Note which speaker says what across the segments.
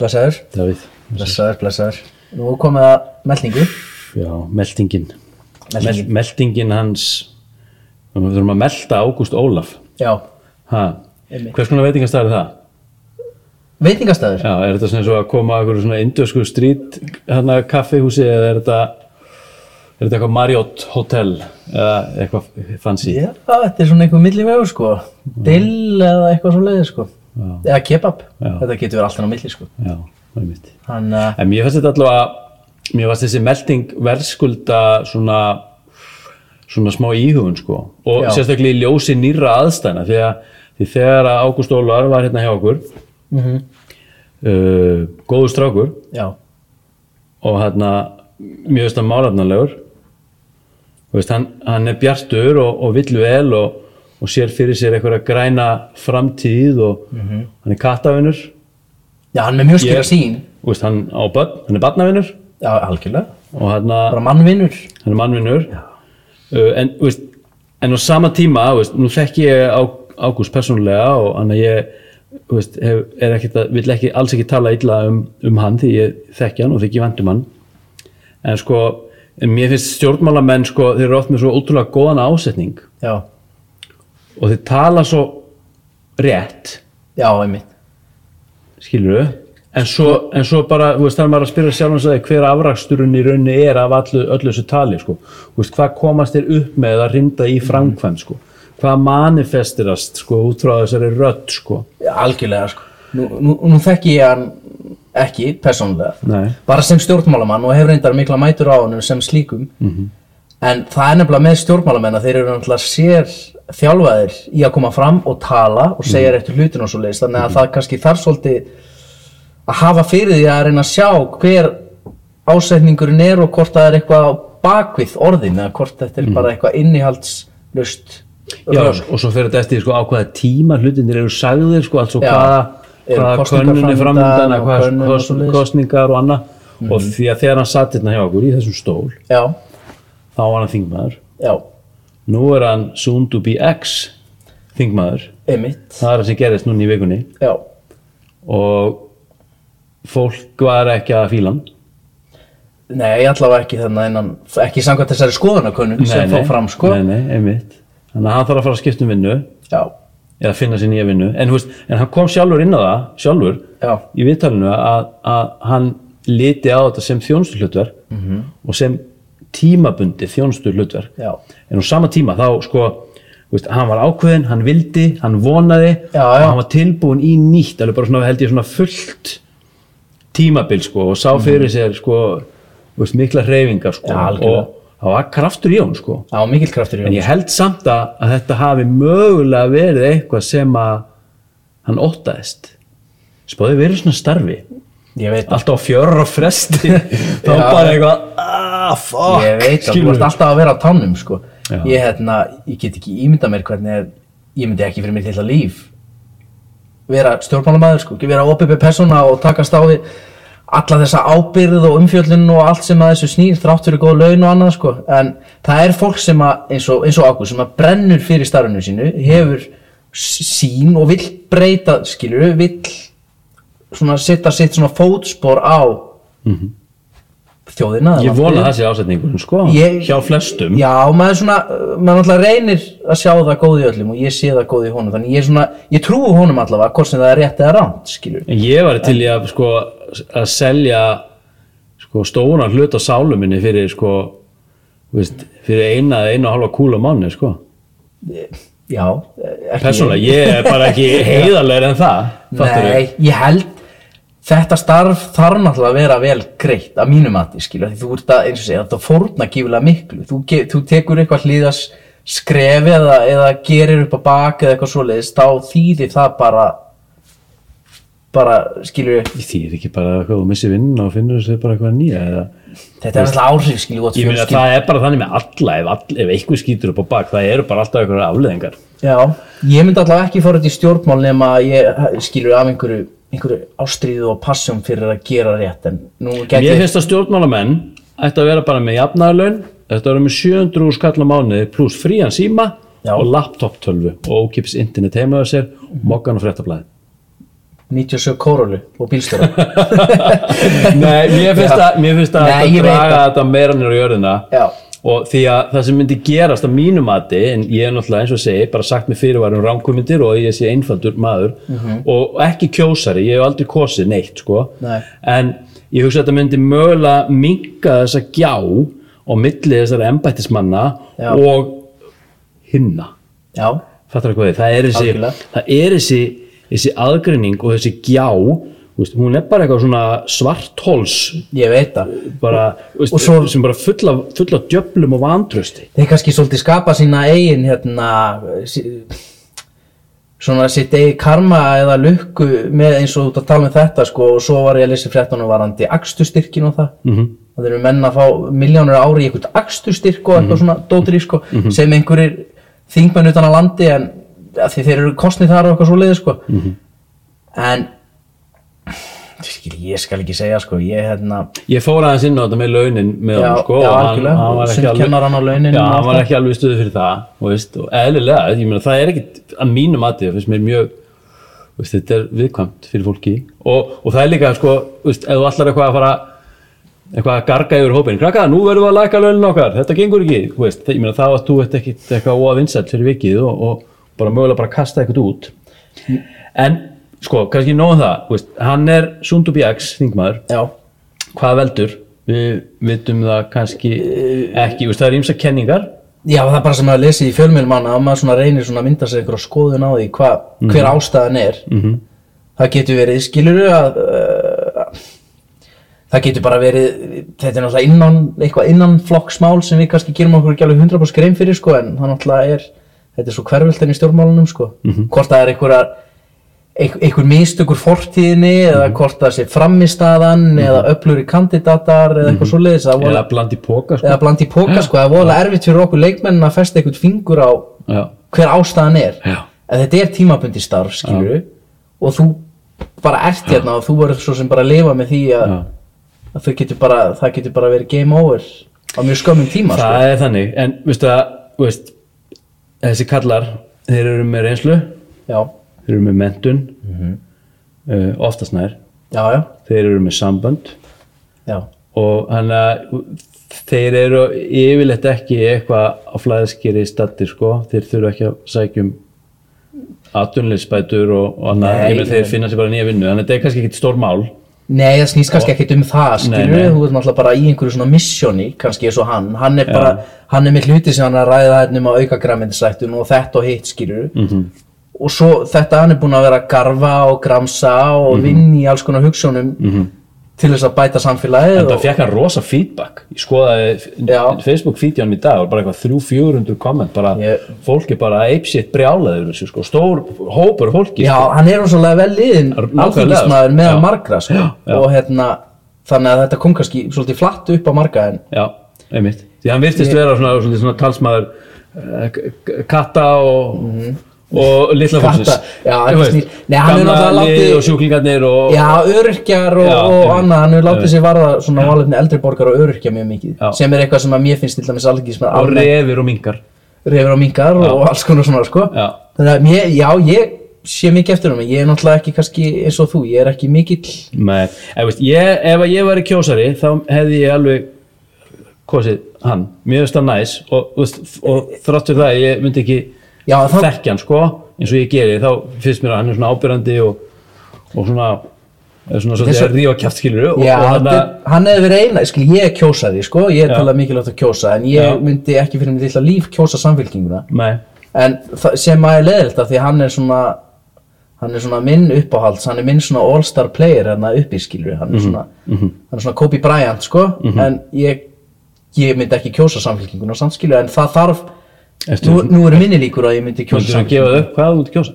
Speaker 1: Blessaður,
Speaker 2: Davíð.
Speaker 1: blessaður, blessaður Nú er komið að meldingu
Speaker 2: Já, meldingin.
Speaker 1: Meldingin.
Speaker 2: Mel- Meldingin hans, við þurfum að melda Ágúst Ólaf.
Speaker 1: Já,
Speaker 2: Ha,
Speaker 1: Einmitt.
Speaker 2: hvers konar veitingastæð er það?
Speaker 1: veitingastæður
Speaker 2: Já, er þetta svona svo að koma að einhverju svona indösku strít hana kaffihúsi eða er þetta, er þetta eitthvað Marriott Hotel eða eitthvað fancy?
Speaker 1: Já, þetta er svona einhver millivegur sko Dill eða eitthvað svo leiðir sko
Speaker 2: Já.
Speaker 1: Eða kebab,
Speaker 2: Já.
Speaker 1: þetta getur verið alltaf á milli sko uh,
Speaker 2: Já, það er mitt.
Speaker 1: Þannig að,
Speaker 2: En mér fannst þetta allavega mér fannst þessi melding verðskulda svona svona smá íhugun sko og
Speaker 1: Já.
Speaker 2: sérstaklega í ljósi nýra aðstæna því að því þegar að Ágúst Ólar var hérna hjá okkur
Speaker 1: mm
Speaker 2: uh, góður strákur
Speaker 1: já,
Speaker 2: og hérna mjög veist að málefnarlegur Þú veist, hann, hann er bjartur og, og vill vel og, og sér fyrir sér einhverja græna framtíð og
Speaker 1: Mhm.
Speaker 2: hann er kattavinur
Speaker 1: já, hann er með mjög skilja
Speaker 2: Ég-
Speaker 1: sín
Speaker 2: Þú veist, hann á börn, hann er barnavinur
Speaker 1: Já, algjörlega,
Speaker 2: og hérna
Speaker 1: bara mannvinur
Speaker 2: hann er mannvinnur uh, en, þú veist, en á sama tíma þú veist, nú þekki ég á, Ágúst persónulega og hann að ég þú veist, hef, er ekkit að, vill ekki, alls ekki tala illa um, um hann því ég þekki hann og þykki vandum hann en sko, en mér finnst stjórnmálamenn sko, þeir eru oft með svo ótrúlega góðan ásetning
Speaker 1: Já,
Speaker 2: og þeir tala svo rétt
Speaker 1: já, einmitt
Speaker 2: skilur en svo, en svo bara, þú veist, það er maður að spyrja sjálfan sig hver afraksturinn í rauninni er af allu, öllu þessu tali, sko Þú veist, hvað komast þér upp með að rinda í framkvæmd, sko hvað manifestirast, sko, út frá þessari rödd, sko
Speaker 1: Já, algjörlega sko Nú, nú, nú þekki ég hann ekki, persónulega
Speaker 2: Nei.
Speaker 1: Bara sem stjórnmálamann og hefur reyndar mikla mætur á hann sem slíkum -hmm.
Speaker 2: Mhm.
Speaker 1: En það er nefnilega með stjórnmálamenn að þeir eru náttúrulega sér þjálfaðir í að koma fram og tala og
Speaker 2: Mhm.
Speaker 1: segja mm -hmm. eftir hlutin og svo leist Þannig að það kannski þarf svolítið að hafa fyrir því að reyna að sjá hver ásetningurinn er og hvort það er eitthvað á bakvið orðin eða hvort þetta
Speaker 2: Mhm.
Speaker 1: er bara eitthvað innihaldslust
Speaker 2: Já, og svo fer þetta eftir, sko, á hvaða tíma hlutinir eru sagðir, sko, alls og
Speaker 1: Já.
Speaker 2: hvaða
Speaker 1: Eru
Speaker 2: hvaða
Speaker 1: kosningar
Speaker 2: könnun er
Speaker 1: framundan
Speaker 2: framöndan
Speaker 1: og
Speaker 2: hvaða
Speaker 1: könnun og
Speaker 2: kos,
Speaker 1: svoleiðis?
Speaker 2: kosningar og annað og því að þegar hann satt hérna hjá okkur í þessum stól
Speaker 1: Já,
Speaker 2: þá var hann þingmaður
Speaker 1: já,
Speaker 2: nú er hann soon to be ex þingmaður
Speaker 1: einmitt
Speaker 2: það er það sem gerðist núna í vikunni
Speaker 1: Já,
Speaker 2: og fólk var ekki að fíla hann
Speaker 1: Nei, allavega ekki þannig innan, ekki samkvæmt þessari skoðanakönnun sem fór fram sko.
Speaker 2: nei, nei, einmitt þannig að hann þarf að fara að skipta um vinnu
Speaker 1: Já,
Speaker 2: eða finna sér nýja vinnu en, þú veist, en hann kom sjálfur inn á það sjálfur
Speaker 1: Já.
Speaker 2: í viðtalinu að, að hann liti á þetta sem þjónstuhlutverk -hmm. og sem tímabundi þjónstuhlutverk
Speaker 1: Mhm. já,
Speaker 2: en á sama tíma þá sko þú veist, hann var ákveðin, hann vildi, hann vonaði
Speaker 1: Já,
Speaker 2: og
Speaker 1: já.
Speaker 2: hann var tilbúin í nýtt alveg bara svona held ég svona fullt tímabil sko og sá fyrir sér sko þú veist, mikla hreyfingar sko
Speaker 1: Mhm. Já, algjörlega.
Speaker 2: og það var kraftur í hún sko
Speaker 1: það var mikill kraftur í
Speaker 2: en
Speaker 1: hún
Speaker 2: ég held samt að, að þetta hafi mögulega verið eitthvað sem að hann óttaðist spáði verið svona starfi
Speaker 1: Ég veit það,
Speaker 2: alltaf á fjörur og fresti þá
Speaker 1: Já.
Speaker 2: bara eitthvað ah, fuck
Speaker 1: ég veit það, þú
Speaker 2: skilurðu?
Speaker 1: ert alltaf að vera á tánum sko.
Speaker 2: Já.
Speaker 1: Ég hérna, ég get ekki ímyndað mér hvernig er, ég myndi ekki fyrir mér til að líf vera stjórnmálamaður sko, ekki vera opið persóna og takast á við alla þessa ábyrð og umfjöllun og allt sem að þessu snýr þrátt fyrir góð laun og annað sko en það er fólk sem að eins og, eins og Ágúst sem að brennur fyrir starfinu sínu hefur s- sín og vill breyta skilur, vill svona setja sitt svona fótspor á þjóðina eða
Speaker 2: Mhm. Ég vona
Speaker 1: landið.
Speaker 2: að það sé ásetningur, sko,
Speaker 1: Ég-
Speaker 2: hjá flestum.
Speaker 1: Já, maður svona, maður náttúrulega reynir að sjá það góð í öllum og ég sé það góð í honum þannig ég er svona, ég trúi honum allavega hvort sem það er rétt eða rámt, skilur
Speaker 2: En ég var til í að, sko, að selja sko, stóran hlut á sálu minni fyrir, sko, þú veist, fyrir eina eða eina og halva kúla manni, sko.
Speaker 1: Já, eh, ekki
Speaker 2: Persónulega,
Speaker 1: ég
Speaker 2: ég er bara ekki heiðarlegur en það, fattur
Speaker 1: Nei, ég held þetta starf þarf náttúrulega að vera vel greitt að mínum að því skilur, því þú ert að eins og segja, þetta fórna gífulega miklu, þú, ge- þú tekur eitthvað hlýðas skrefi eða, eða gerir upp á bak eða eitthvað svoleiðis, þá þýðir það bara bara, skilur
Speaker 2: Ég þýr ekki bara eitthvað þú missir vinnuna og finnur þessu bara eitthvað nýja eða...
Speaker 1: þetta er alltaf áhrif, skilur, gott
Speaker 2: Ég meina að það er bara þannig með alla, ef, all, ef eitthvað skýtur upp á bak, það eru bara alltaf eitthvað afleðingar.
Speaker 1: Já, ég myndi allavega ekki fara út í stjórnmál nema að ég skilur af einhverju, einhverju ástríðu og passjón fyrir að gera rétt en nú
Speaker 2: Mér
Speaker 1: geti,
Speaker 2: finnst að stjórnmálamenn ætti að vera bara með jafnaðarlaun ætti að vera með 700 úr skall á mánuði pluss frían síma
Speaker 1: Já.
Speaker 2: og laptop tölvu og ókips internet heimaðu sér og mokkan og fréttablaði
Speaker 1: 97 Corolla og bílstjóra
Speaker 2: Nei, mér finnst
Speaker 1: Já.
Speaker 2: að, mér finnst að,
Speaker 1: Nei, ég
Speaker 2: að
Speaker 1: veit
Speaker 2: draga
Speaker 1: það.
Speaker 2: þetta meira nýra jörðina
Speaker 1: Já.
Speaker 2: og því að það sem myndi gerast að mínu mati, en ég er náttúrulega eins og ég segi bara sagt með fyrirvarum ránkvömyndir og ég sé einfaldur maður og ekki kjósari, ég hef aldrei kosið neitt sko.
Speaker 1: Mhm. Nei.
Speaker 2: en ég hugsa að þetta myndi mögulega minka þessa gjá og milli þessara embættismanna
Speaker 1: Já.
Speaker 2: og hinna
Speaker 1: Já,
Speaker 2: fattar hvað ég, það er þessi,
Speaker 1: Algjörlega.
Speaker 2: það er þessi, þessi aðgreining og þessi gjá þú veist, hún er bara eitthvað svona svarthols
Speaker 1: ég veit það
Speaker 2: bara, þú veist,
Speaker 1: Og svo-
Speaker 2: sem bara fulla, fulla djöflum og vantrösti
Speaker 1: Þeir kannski svolítið skapa sína eigin hérna sí- svona sitt eigin karma eða lukku með eins og þú ert að tala um þetta sko og svo var ég að lesa í fréttunum varandi akstustyrkin og það mm -hmm. það eru menn að fá miljónur á ári í eitthvað akstustyrk og eitthvað svona dótri sko sem einhverjir þingmenn utan að landi en ja, því þeir eru kostnir þar og eitthvað svo leiði sko en skil, ég skal ekki segja sko ég hérna
Speaker 2: ég fór aðeins inn á þetta með launin með
Speaker 1: Já,
Speaker 2: hann sko
Speaker 1: já,
Speaker 2: og hann,
Speaker 1: algjörlega.
Speaker 2: hann var ekki
Speaker 1: Sem
Speaker 2: alveg,
Speaker 1: kennarann á launin og
Speaker 2: já, hann
Speaker 1: allt
Speaker 2: var
Speaker 1: það.
Speaker 2: ekki alveg stuðu fyrir það þú veist, og eðlilega, ég meina það er ekkit að mínu mati, það finnst mér mjög þú veist, þetta er viðkvæmt fyrir fólki og, og það er líka sko, þú veist, ef þú allar eitthvað að fara eitthvað að garga yfir hópin, krakka, nú verðum við að læka launin okkar, þetta gengur ekki, þú veist, það- ég meina það að þú ert ekkit eitthvað óavinsætt fyrir vikið og, og bara mögulega bara kasta eitthvað út en sko, kannski nóg um það, þú veist, hann er Sundu BX, þingmaður
Speaker 1: já,
Speaker 2: hvað veldur við vitum það kannski ekki, veist, það er ímsa kenningar
Speaker 1: Já, það er bara sem að lesi í fjölmjölmanna að maður svona reynir svona að mynda sér einhverja skoðun á því hva, hver ástæðan er -hmm. það getur verið, skilur að uh, það getur bara verið þetta er náttúrulega innan, eitthvað innan flokksmál sem við kannski gerum okkur ekki alveg 100% grein fyrir sko, en það náttúrulega er þetta er svo hverfjöldin í stjórnmálunum sko. -hmm. hvort það er einhverjar einhver, einhver mistökur fortíðinni eða hvort það sé framistaðan eða öfluri kandidatar eða eitthvað svoleiðis það voru
Speaker 2: eða bland í póka sko.
Speaker 1: eða bland í póka sko, það er voðalega erfitt fyrir okkur leikmennin að festa einhvern fingur á
Speaker 2: já,
Speaker 1: hver ástæðan er
Speaker 2: Já.
Speaker 1: en þetta er tímabundi starf skilur og þú bara ert hérna og þú verður svo sem bara að lifa með því að,
Speaker 2: já.
Speaker 1: að þau getur bara, það getur bara verið game over á mjög skömmum tíma sko.
Speaker 2: það er þannig, en veistu að veist, þessi kallar þeir eru með reynslu,
Speaker 1: já,
Speaker 2: þeir eru með mentun mm oftast nær
Speaker 1: já, já,
Speaker 2: þeir eru með sambönd
Speaker 1: já
Speaker 2: og hann að þeir eru yfirleitt ekki eitthvað á flæðiskeri stattir sko, þeir þurfa ekki að sækjum atvinnleysbætur og, og annað,
Speaker 1: Nei,
Speaker 2: ég meina þeir
Speaker 1: nei.
Speaker 2: finna sér bara nýja vinnu, þannig að þetta er kannski ekkit stór mál
Speaker 1: Nei, það snýst kannski ekkert um það, skilur
Speaker 2: nei.
Speaker 1: þú ert náttúrulega bara í einhverju svona missjóni, kannski eins og hann, hann er bara, hann er með hluti sem hann er að ræða hérna um að auka græmyndisættun og þetta og hitt, skilur
Speaker 2: Mhm.
Speaker 1: -hmm. og svo þetta hann er búin að vera að garfa og gramsa og
Speaker 2: Mhm.
Speaker 1: mm vinna í alls konar hugssjónum -hmm. til þess að bæta samfélagið
Speaker 2: Þetta
Speaker 1: og,
Speaker 2: fekk hann rosa feedback Ég skoðaði
Speaker 1: Já.
Speaker 2: Facebook-fídjónum í dag og bara eitthvað 300-400 komment bara,
Speaker 1: Ég-
Speaker 2: fólk er bara eipsitt brjálaður þessu, sko. stór hópur af fólki sko.
Speaker 1: Já, hann er rosalega vel liðin
Speaker 2: Er- nákvæmlega,
Speaker 1: alþingismæður
Speaker 2: sko.
Speaker 1: meðan
Speaker 2: Já.
Speaker 1: margra, sko
Speaker 2: Já, já.
Speaker 1: og hérna, þannig að þetta kom kannski svolítið flatt upp á marga en
Speaker 2: Já, einmitt Því hann virtist vera svona, svona, svona talsmaður eh, k- k- katta og og litla
Speaker 1: Mhm. Katta,
Speaker 2: fólksins
Speaker 1: já,
Speaker 2: Þú
Speaker 1: þetta
Speaker 2: veist,
Speaker 1: snýr- Nei, hann er
Speaker 2: gamla
Speaker 1: náttúrulega
Speaker 2: lið
Speaker 1: látið-
Speaker 2: og sjúklingarnir og
Speaker 1: Já, öryrkjar og,
Speaker 2: Já,
Speaker 1: og
Speaker 2: einmitt.
Speaker 1: annað, hann hefur látið sér varða svona málefni eldri borgar og öryrkja mjög mikið
Speaker 2: Já.
Speaker 1: sem er eitthvað sem að mér finnst til dæmis alveg sem
Speaker 2: og
Speaker 1: að
Speaker 2: refir og mingar
Speaker 1: reyfur á mingar og alls konar svona sko.
Speaker 2: Já.
Speaker 1: þannig að mér, já, ég sé mikið eftir honum, en ég er náttúrulega ekki kannski eins og þú, ég er ekki mikill
Speaker 2: Nei, ef, veist, ég, ef að ég væri kjósari þá hefði ég alveg kosið hann, mér finnst það næs og, og, og þráttur það að ég myndi ekki
Speaker 1: Já, þá-
Speaker 2: þekkja hann sko eins og ég geri, þá finnst mér að hann er svona ábyrrandi og, og svona er svona svolítið
Speaker 1: Þessu-
Speaker 2: að rífa kjaft skilur og,
Speaker 1: já,
Speaker 2: og
Speaker 1: hann,
Speaker 2: hann
Speaker 1: er- hann hefði verið eina, skil, ég kjósa því sko, ég
Speaker 2: Já.
Speaker 1: er talað mikilvægt að kjósa en ég
Speaker 2: Já.
Speaker 1: myndi ekki fyrir mig til að líf kjósa samfélkinguna
Speaker 2: nei,
Speaker 1: en það- sem að er leðilt að því að hann er svona hann er svona minn uppáhalds hann er minn svona all-star player hérna uppi skilur hann er svona, hann er svona Kobe Bryant sko, en ég ég myndi ekki kjósa samfélkinguna samt skilur en það þarf,
Speaker 2: Ertu-
Speaker 1: nú, nú eru minni líkur að ég myndi kjósa
Speaker 2: myndir hann gefa þau upp hvað þú ert kjósa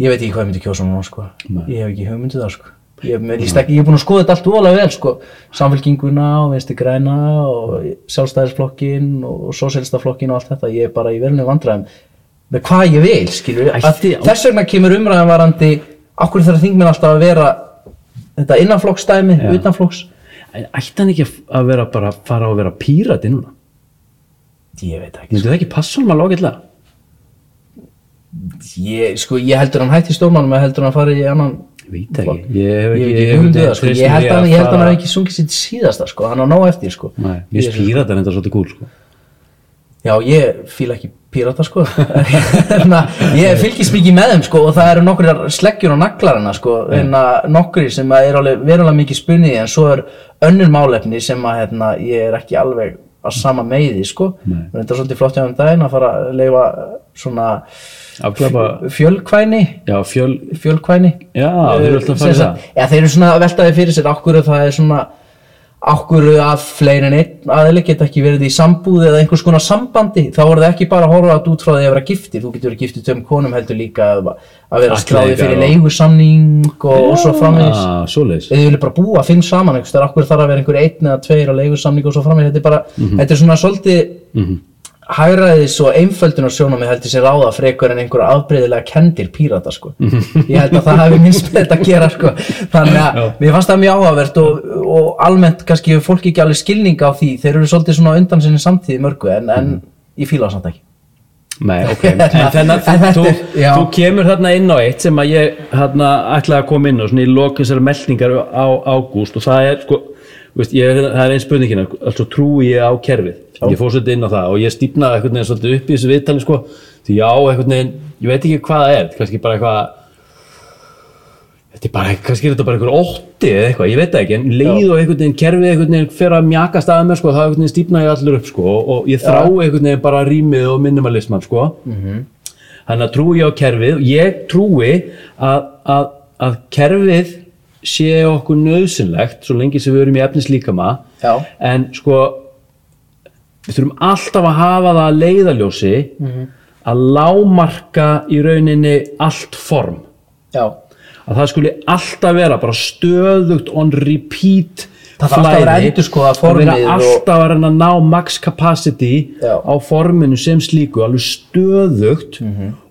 Speaker 1: ég veit ekki hvað ég myndi kjósa núna sko ég hef ekki hugmyndið það sko ég, mér líst ekki, ég er búin að skoða þetta allt óalega vel sko samfélkinguna og vinstri græna og sjálfstæðisflokkin og sósélstaflokkin og allt þetta ég er bara í verðinu vandræðum með hvað ég vil skilur
Speaker 2: Ætti á-
Speaker 1: þess vegna kemur umræðan varandi okkur þarf þingmenn alltaf að vera þetta innanflokksdæmi, utanflokks
Speaker 2: ætti hann ekki að- að vera bara fara og vera pírati núna,
Speaker 1: ég veit ekki
Speaker 2: myndir það ekki passa hann alveg ágætlega
Speaker 1: ég, sko, ég heldur hann hætti stórmálum ég heldur hann fari í annan
Speaker 2: Ég veit það ekki, ég
Speaker 1: Ég,
Speaker 2: hef ekki
Speaker 1: ég, ég, ég, ég, sko. ég held að ég held að hann
Speaker 2: fara-
Speaker 1: hafi ekki sungið sitt síðasta sko, hann á ná eftir sko
Speaker 2: Nei, mér finnst píratar enda svolítið gúl sko.
Speaker 1: Já, ég fíla ekki pírata sko Hérna, Ég fylgist mikið með þeim sko og það eru nokkrir sleggjur á naglarina sko en nokkrir sem að er alveg verulega mikið spunnið í, en svo er önnur málefni sem að hérna, ég er ekki alveg að sama meiði sko
Speaker 2: Nei.
Speaker 1: þetta er svolítið flott hjá um daginn að fara að leifa svona
Speaker 2: Afglapa,
Speaker 1: fjölkvæni
Speaker 2: já, fjöl
Speaker 1: fjölkvæni
Speaker 2: Já, þeir eru alltaf að fara í það
Speaker 1: Já, þeir eru svona að veltaði fyrir sér okkur og það er svona okkur að fleiri en einn aðeins geta ekki verið í sambúð eða einhvers konar sambandi þá voru það ekki bara að horfa að út frá því að vera gifti þú getur verið giftið töm konum heldur líka að að vera
Speaker 2: Ættleiðingar
Speaker 1: skráði fyrir
Speaker 2: og-
Speaker 1: leigusamning og, og svo framvegis
Speaker 2: Já, svoleiðis
Speaker 1: eða þið vilja bara búa, finn saman einhvers þar okkur þarf að vera einhver einn eða tveir á leigusamning og svo framvegis þetta er bara, þetta er svona svolítið mm hægræðis og einföldunar sjónamið heldur sér ráða frekar en einhver afbreyðilega kendir pírata sko ég held að það hefði minnst með þetta að gera sko þannig að
Speaker 2: Já.
Speaker 1: mér fannst það mjög áhugavert og, og almennt kannski hefur fólk ekki alveg skilning á því, þeir eru svolítið svona á undan sinni samtíði mörgu en, en ég fíla það samt ekki
Speaker 2: Nei, ok, en
Speaker 1: Hérna,
Speaker 2: þannig
Speaker 1: en
Speaker 2: að
Speaker 1: þetta
Speaker 2: þú,
Speaker 1: er-
Speaker 2: þú,
Speaker 1: já.
Speaker 2: þú kemur þarna inn á eitt sem að ég þarna ætlaði að koma inn á svona í loka þessari meldingar á ágúst og það er sko, veist, ég, það er hérna, einn spurningina altså trúi ég á kerfið ég fór svolítið inn á það og ég stífnaði einhvern veginn svolítið upp í þessu viðtali sko því já, einhvern veginn, ég veit ekki hvað það er kannski bara eitthvað þetta er bara, kannski er þetta bara einhver ótti eða eitthvað, ég veit það ekki, en leið og einhvern veginn kerfið einhvern veginn fer að mjaka staða mér sko, það einhvern veginn stífna ég allur upp sko og- og ég þrá einhvern veginn bara rýmið og minimalisman sko þannig að trúi ég á kerfið ég trúi að, að, að kerfið sé okkur nöðsynlegt svo lengi sem við erum í efnis líkama
Speaker 1: Já.
Speaker 2: en sko við þurfum alltaf að hafa það að leiðaljósi að lámarka í rauninni allt form
Speaker 1: Já,
Speaker 2: að það skuli alltaf vera bara stöðugt on repeat
Speaker 1: Það þarf alltaf að vera
Speaker 2: flæði.
Speaker 1: endurskoða
Speaker 2: Það vera
Speaker 1: formið og-
Speaker 2: alltaf að reyna að ná max capacity
Speaker 1: Já.
Speaker 2: á forminu sem slíku alveg stöðugt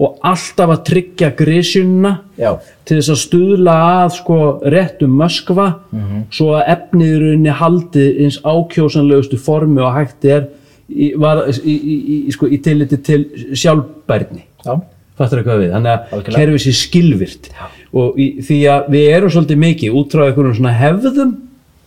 Speaker 2: og alltaf að tryggja grísjunna
Speaker 1: Mhm. Já.
Speaker 2: til þess að stuðla að sko réttum möskva
Speaker 1: Mhm.
Speaker 2: svo að efniðurunni haldi eins ákjósanlegustu formi og hægt er í, var, í, í, í, sko, í tilliti til sjálfbærni
Speaker 1: já,
Speaker 2: fattur eitthvað við, þannig að
Speaker 1: Algjörlega.
Speaker 2: kerfið sé skilvirt og í, því að við erum svolítið mikið útráð einhvern svona hefðum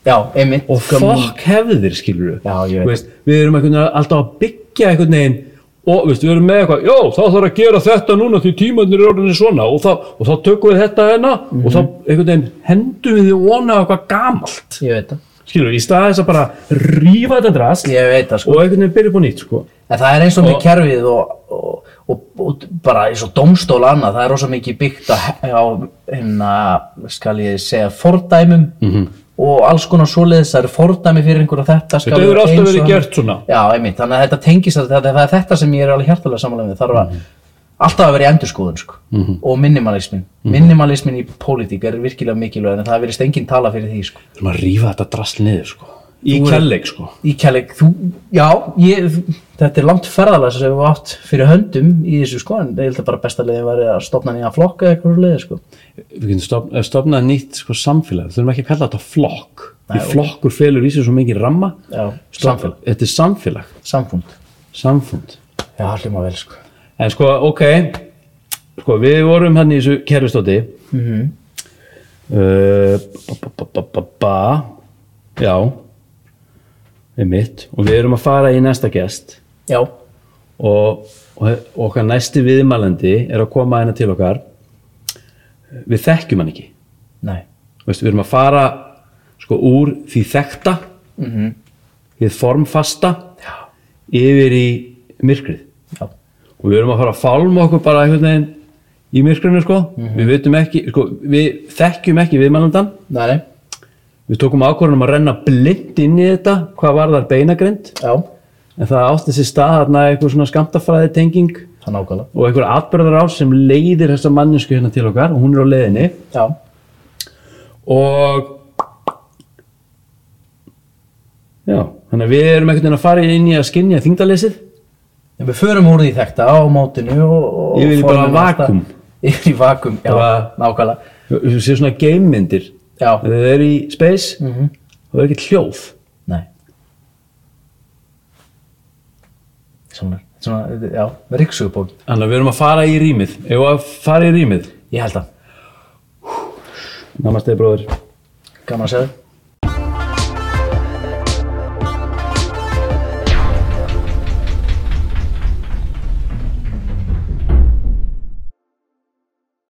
Speaker 1: já, einmitt
Speaker 2: og
Speaker 1: Gömul-
Speaker 2: fokk hefðir skilur við
Speaker 1: Já, ég veit.
Speaker 2: veist, við erum einhvern veginn alltaf að byggja einhvern veginn og veist, við erum með eitthvað, já þá þarf að gera þetta núna því tímannir er orðinni svona og þá, og þá tökum við þetta hérna og þá einhvern veginn hendum við því vona eitthvað gamalt
Speaker 1: Ég veit það
Speaker 2: skilur við, í staðið þess að bara rífa þetta drast
Speaker 1: Ég veit það sko
Speaker 2: og einhvern veginn byrja upp á nýtt sko.
Speaker 1: En það er eins og með
Speaker 2: Og-
Speaker 1: kerfið og, og, og, og bara eins og domstól og annað, það er rosa mikið byggt á, á hérna, skal ég segja, fordæmum
Speaker 2: Mhm.
Speaker 1: -hmm. og alls konar svoleiðis, það eru fordæmi fyrir einhverja þetta skal
Speaker 2: Þetta
Speaker 1: vera
Speaker 2: hefur alltaf
Speaker 1: eins
Speaker 2: verið
Speaker 1: og-
Speaker 2: gert svona.
Speaker 1: Já, einmitt, þannig að þetta tengist að þetta, það er þetta sem ég er alveg hjartalega samanlega með, þarf að
Speaker 2: Mhm.
Speaker 1: alltaf að vera í endurskoðun sko. -hmm. og minimalismin,
Speaker 2: Mhm.
Speaker 1: minimalismin í pólitík er virkilega mikilvæg en það verist enginn tala fyrir því sko.
Speaker 2: Við erum að rífa þetta drast niður sko. í
Speaker 1: Þú er-
Speaker 2: kærleik sko.
Speaker 1: Í kærleik, þú, já, ég, þetta er langt ferðalega sem við átt fyrir höndum í þessu sko, en ég held að bara besta leiðin væri að stopna nýja flokka eða eitthvað leiði sko.
Speaker 2: við getum stofna, stofnað nýtt sko, samfélag, við þurfum ekki að kalla þetta flokk því
Speaker 1: ok.
Speaker 2: flokkur felur í sig svo mikið ramma
Speaker 1: Já,
Speaker 2: Stofn,
Speaker 1: samfélag.
Speaker 2: þetta er samfélag,
Speaker 1: Samfund.
Speaker 2: samfund
Speaker 1: Já, allir maður vel sko.
Speaker 2: en sko, ok sko, við vorum hann í þessu kerfistóti mm
Speaker 1: Mhm.
Speaker 2: ba, ba, ba, ba, ba já við mitt og við erum að fara í næsta gest
Speaker 1: Já,
Speaker 2: og, og og okkar næsti viðmælandi er að koma hérna til okkar við þekkjum hann ekki
Speaker 1: nei.
Speaker 2: Veist, við erum að fara sko, úr því þekta
Speaker 1: Mm -hmm.
Speaker 2: því formfasta
Speaker 1: Já,
Speaker 2: yfir í myrkrið
Speaker 1: já,
Speaker 2: og við erum að fara að fálma okkur bara einhvern veginn í myrkrinu sko. við veitum ekki, sko, við þekkjum ekki viðmælandan
Speaker 1: nei, nei,
Speaker 2: við tókum ákvörðunum að renna blind inn í þetta hvað var þar beinagrind
Speaker 1: já,
Speaker 2: en það átti sér stað þarna einhver svona skamtafræði tenging
Speaker 1: það nákvæmlega.
Speaker 2: og einhver atbyrðar á sem leiðir þessa mannesku hérna til okkar og hún er á leiðinni
Speaker 1: Já,
Speaker 2: og já, þannig að við erum einhvern veginn að fara inn í að skinja þingdaleysið
Speaker 1: en við förum úr því þekta á mótinu og... og
Speaker 2: Yfir í bara
Speaker 1: formum alltaf-
Speaker 2: vakuum.
Speaker 1: Yfir í vakum, já,
Speaker 2: Bara-
Speaker 1: nákvæmlega.
Speaker 2: þú séu svona gamemyndir
Speaker 1: Já,
Speaker 2: þegar þau eru í space mm
Speaker 1: Mhm.
Speaker 2: það er ekki hljóð
Speaker 1: nei. Svona, svona, já, ríksugubók.
Speaker 2: þannig að við erum að fara í rýmið ef að fara í rýmið
Speaker 1: Ég held að
Speaker 3: namaste bróður
Speaker 2: Gaman að segja þau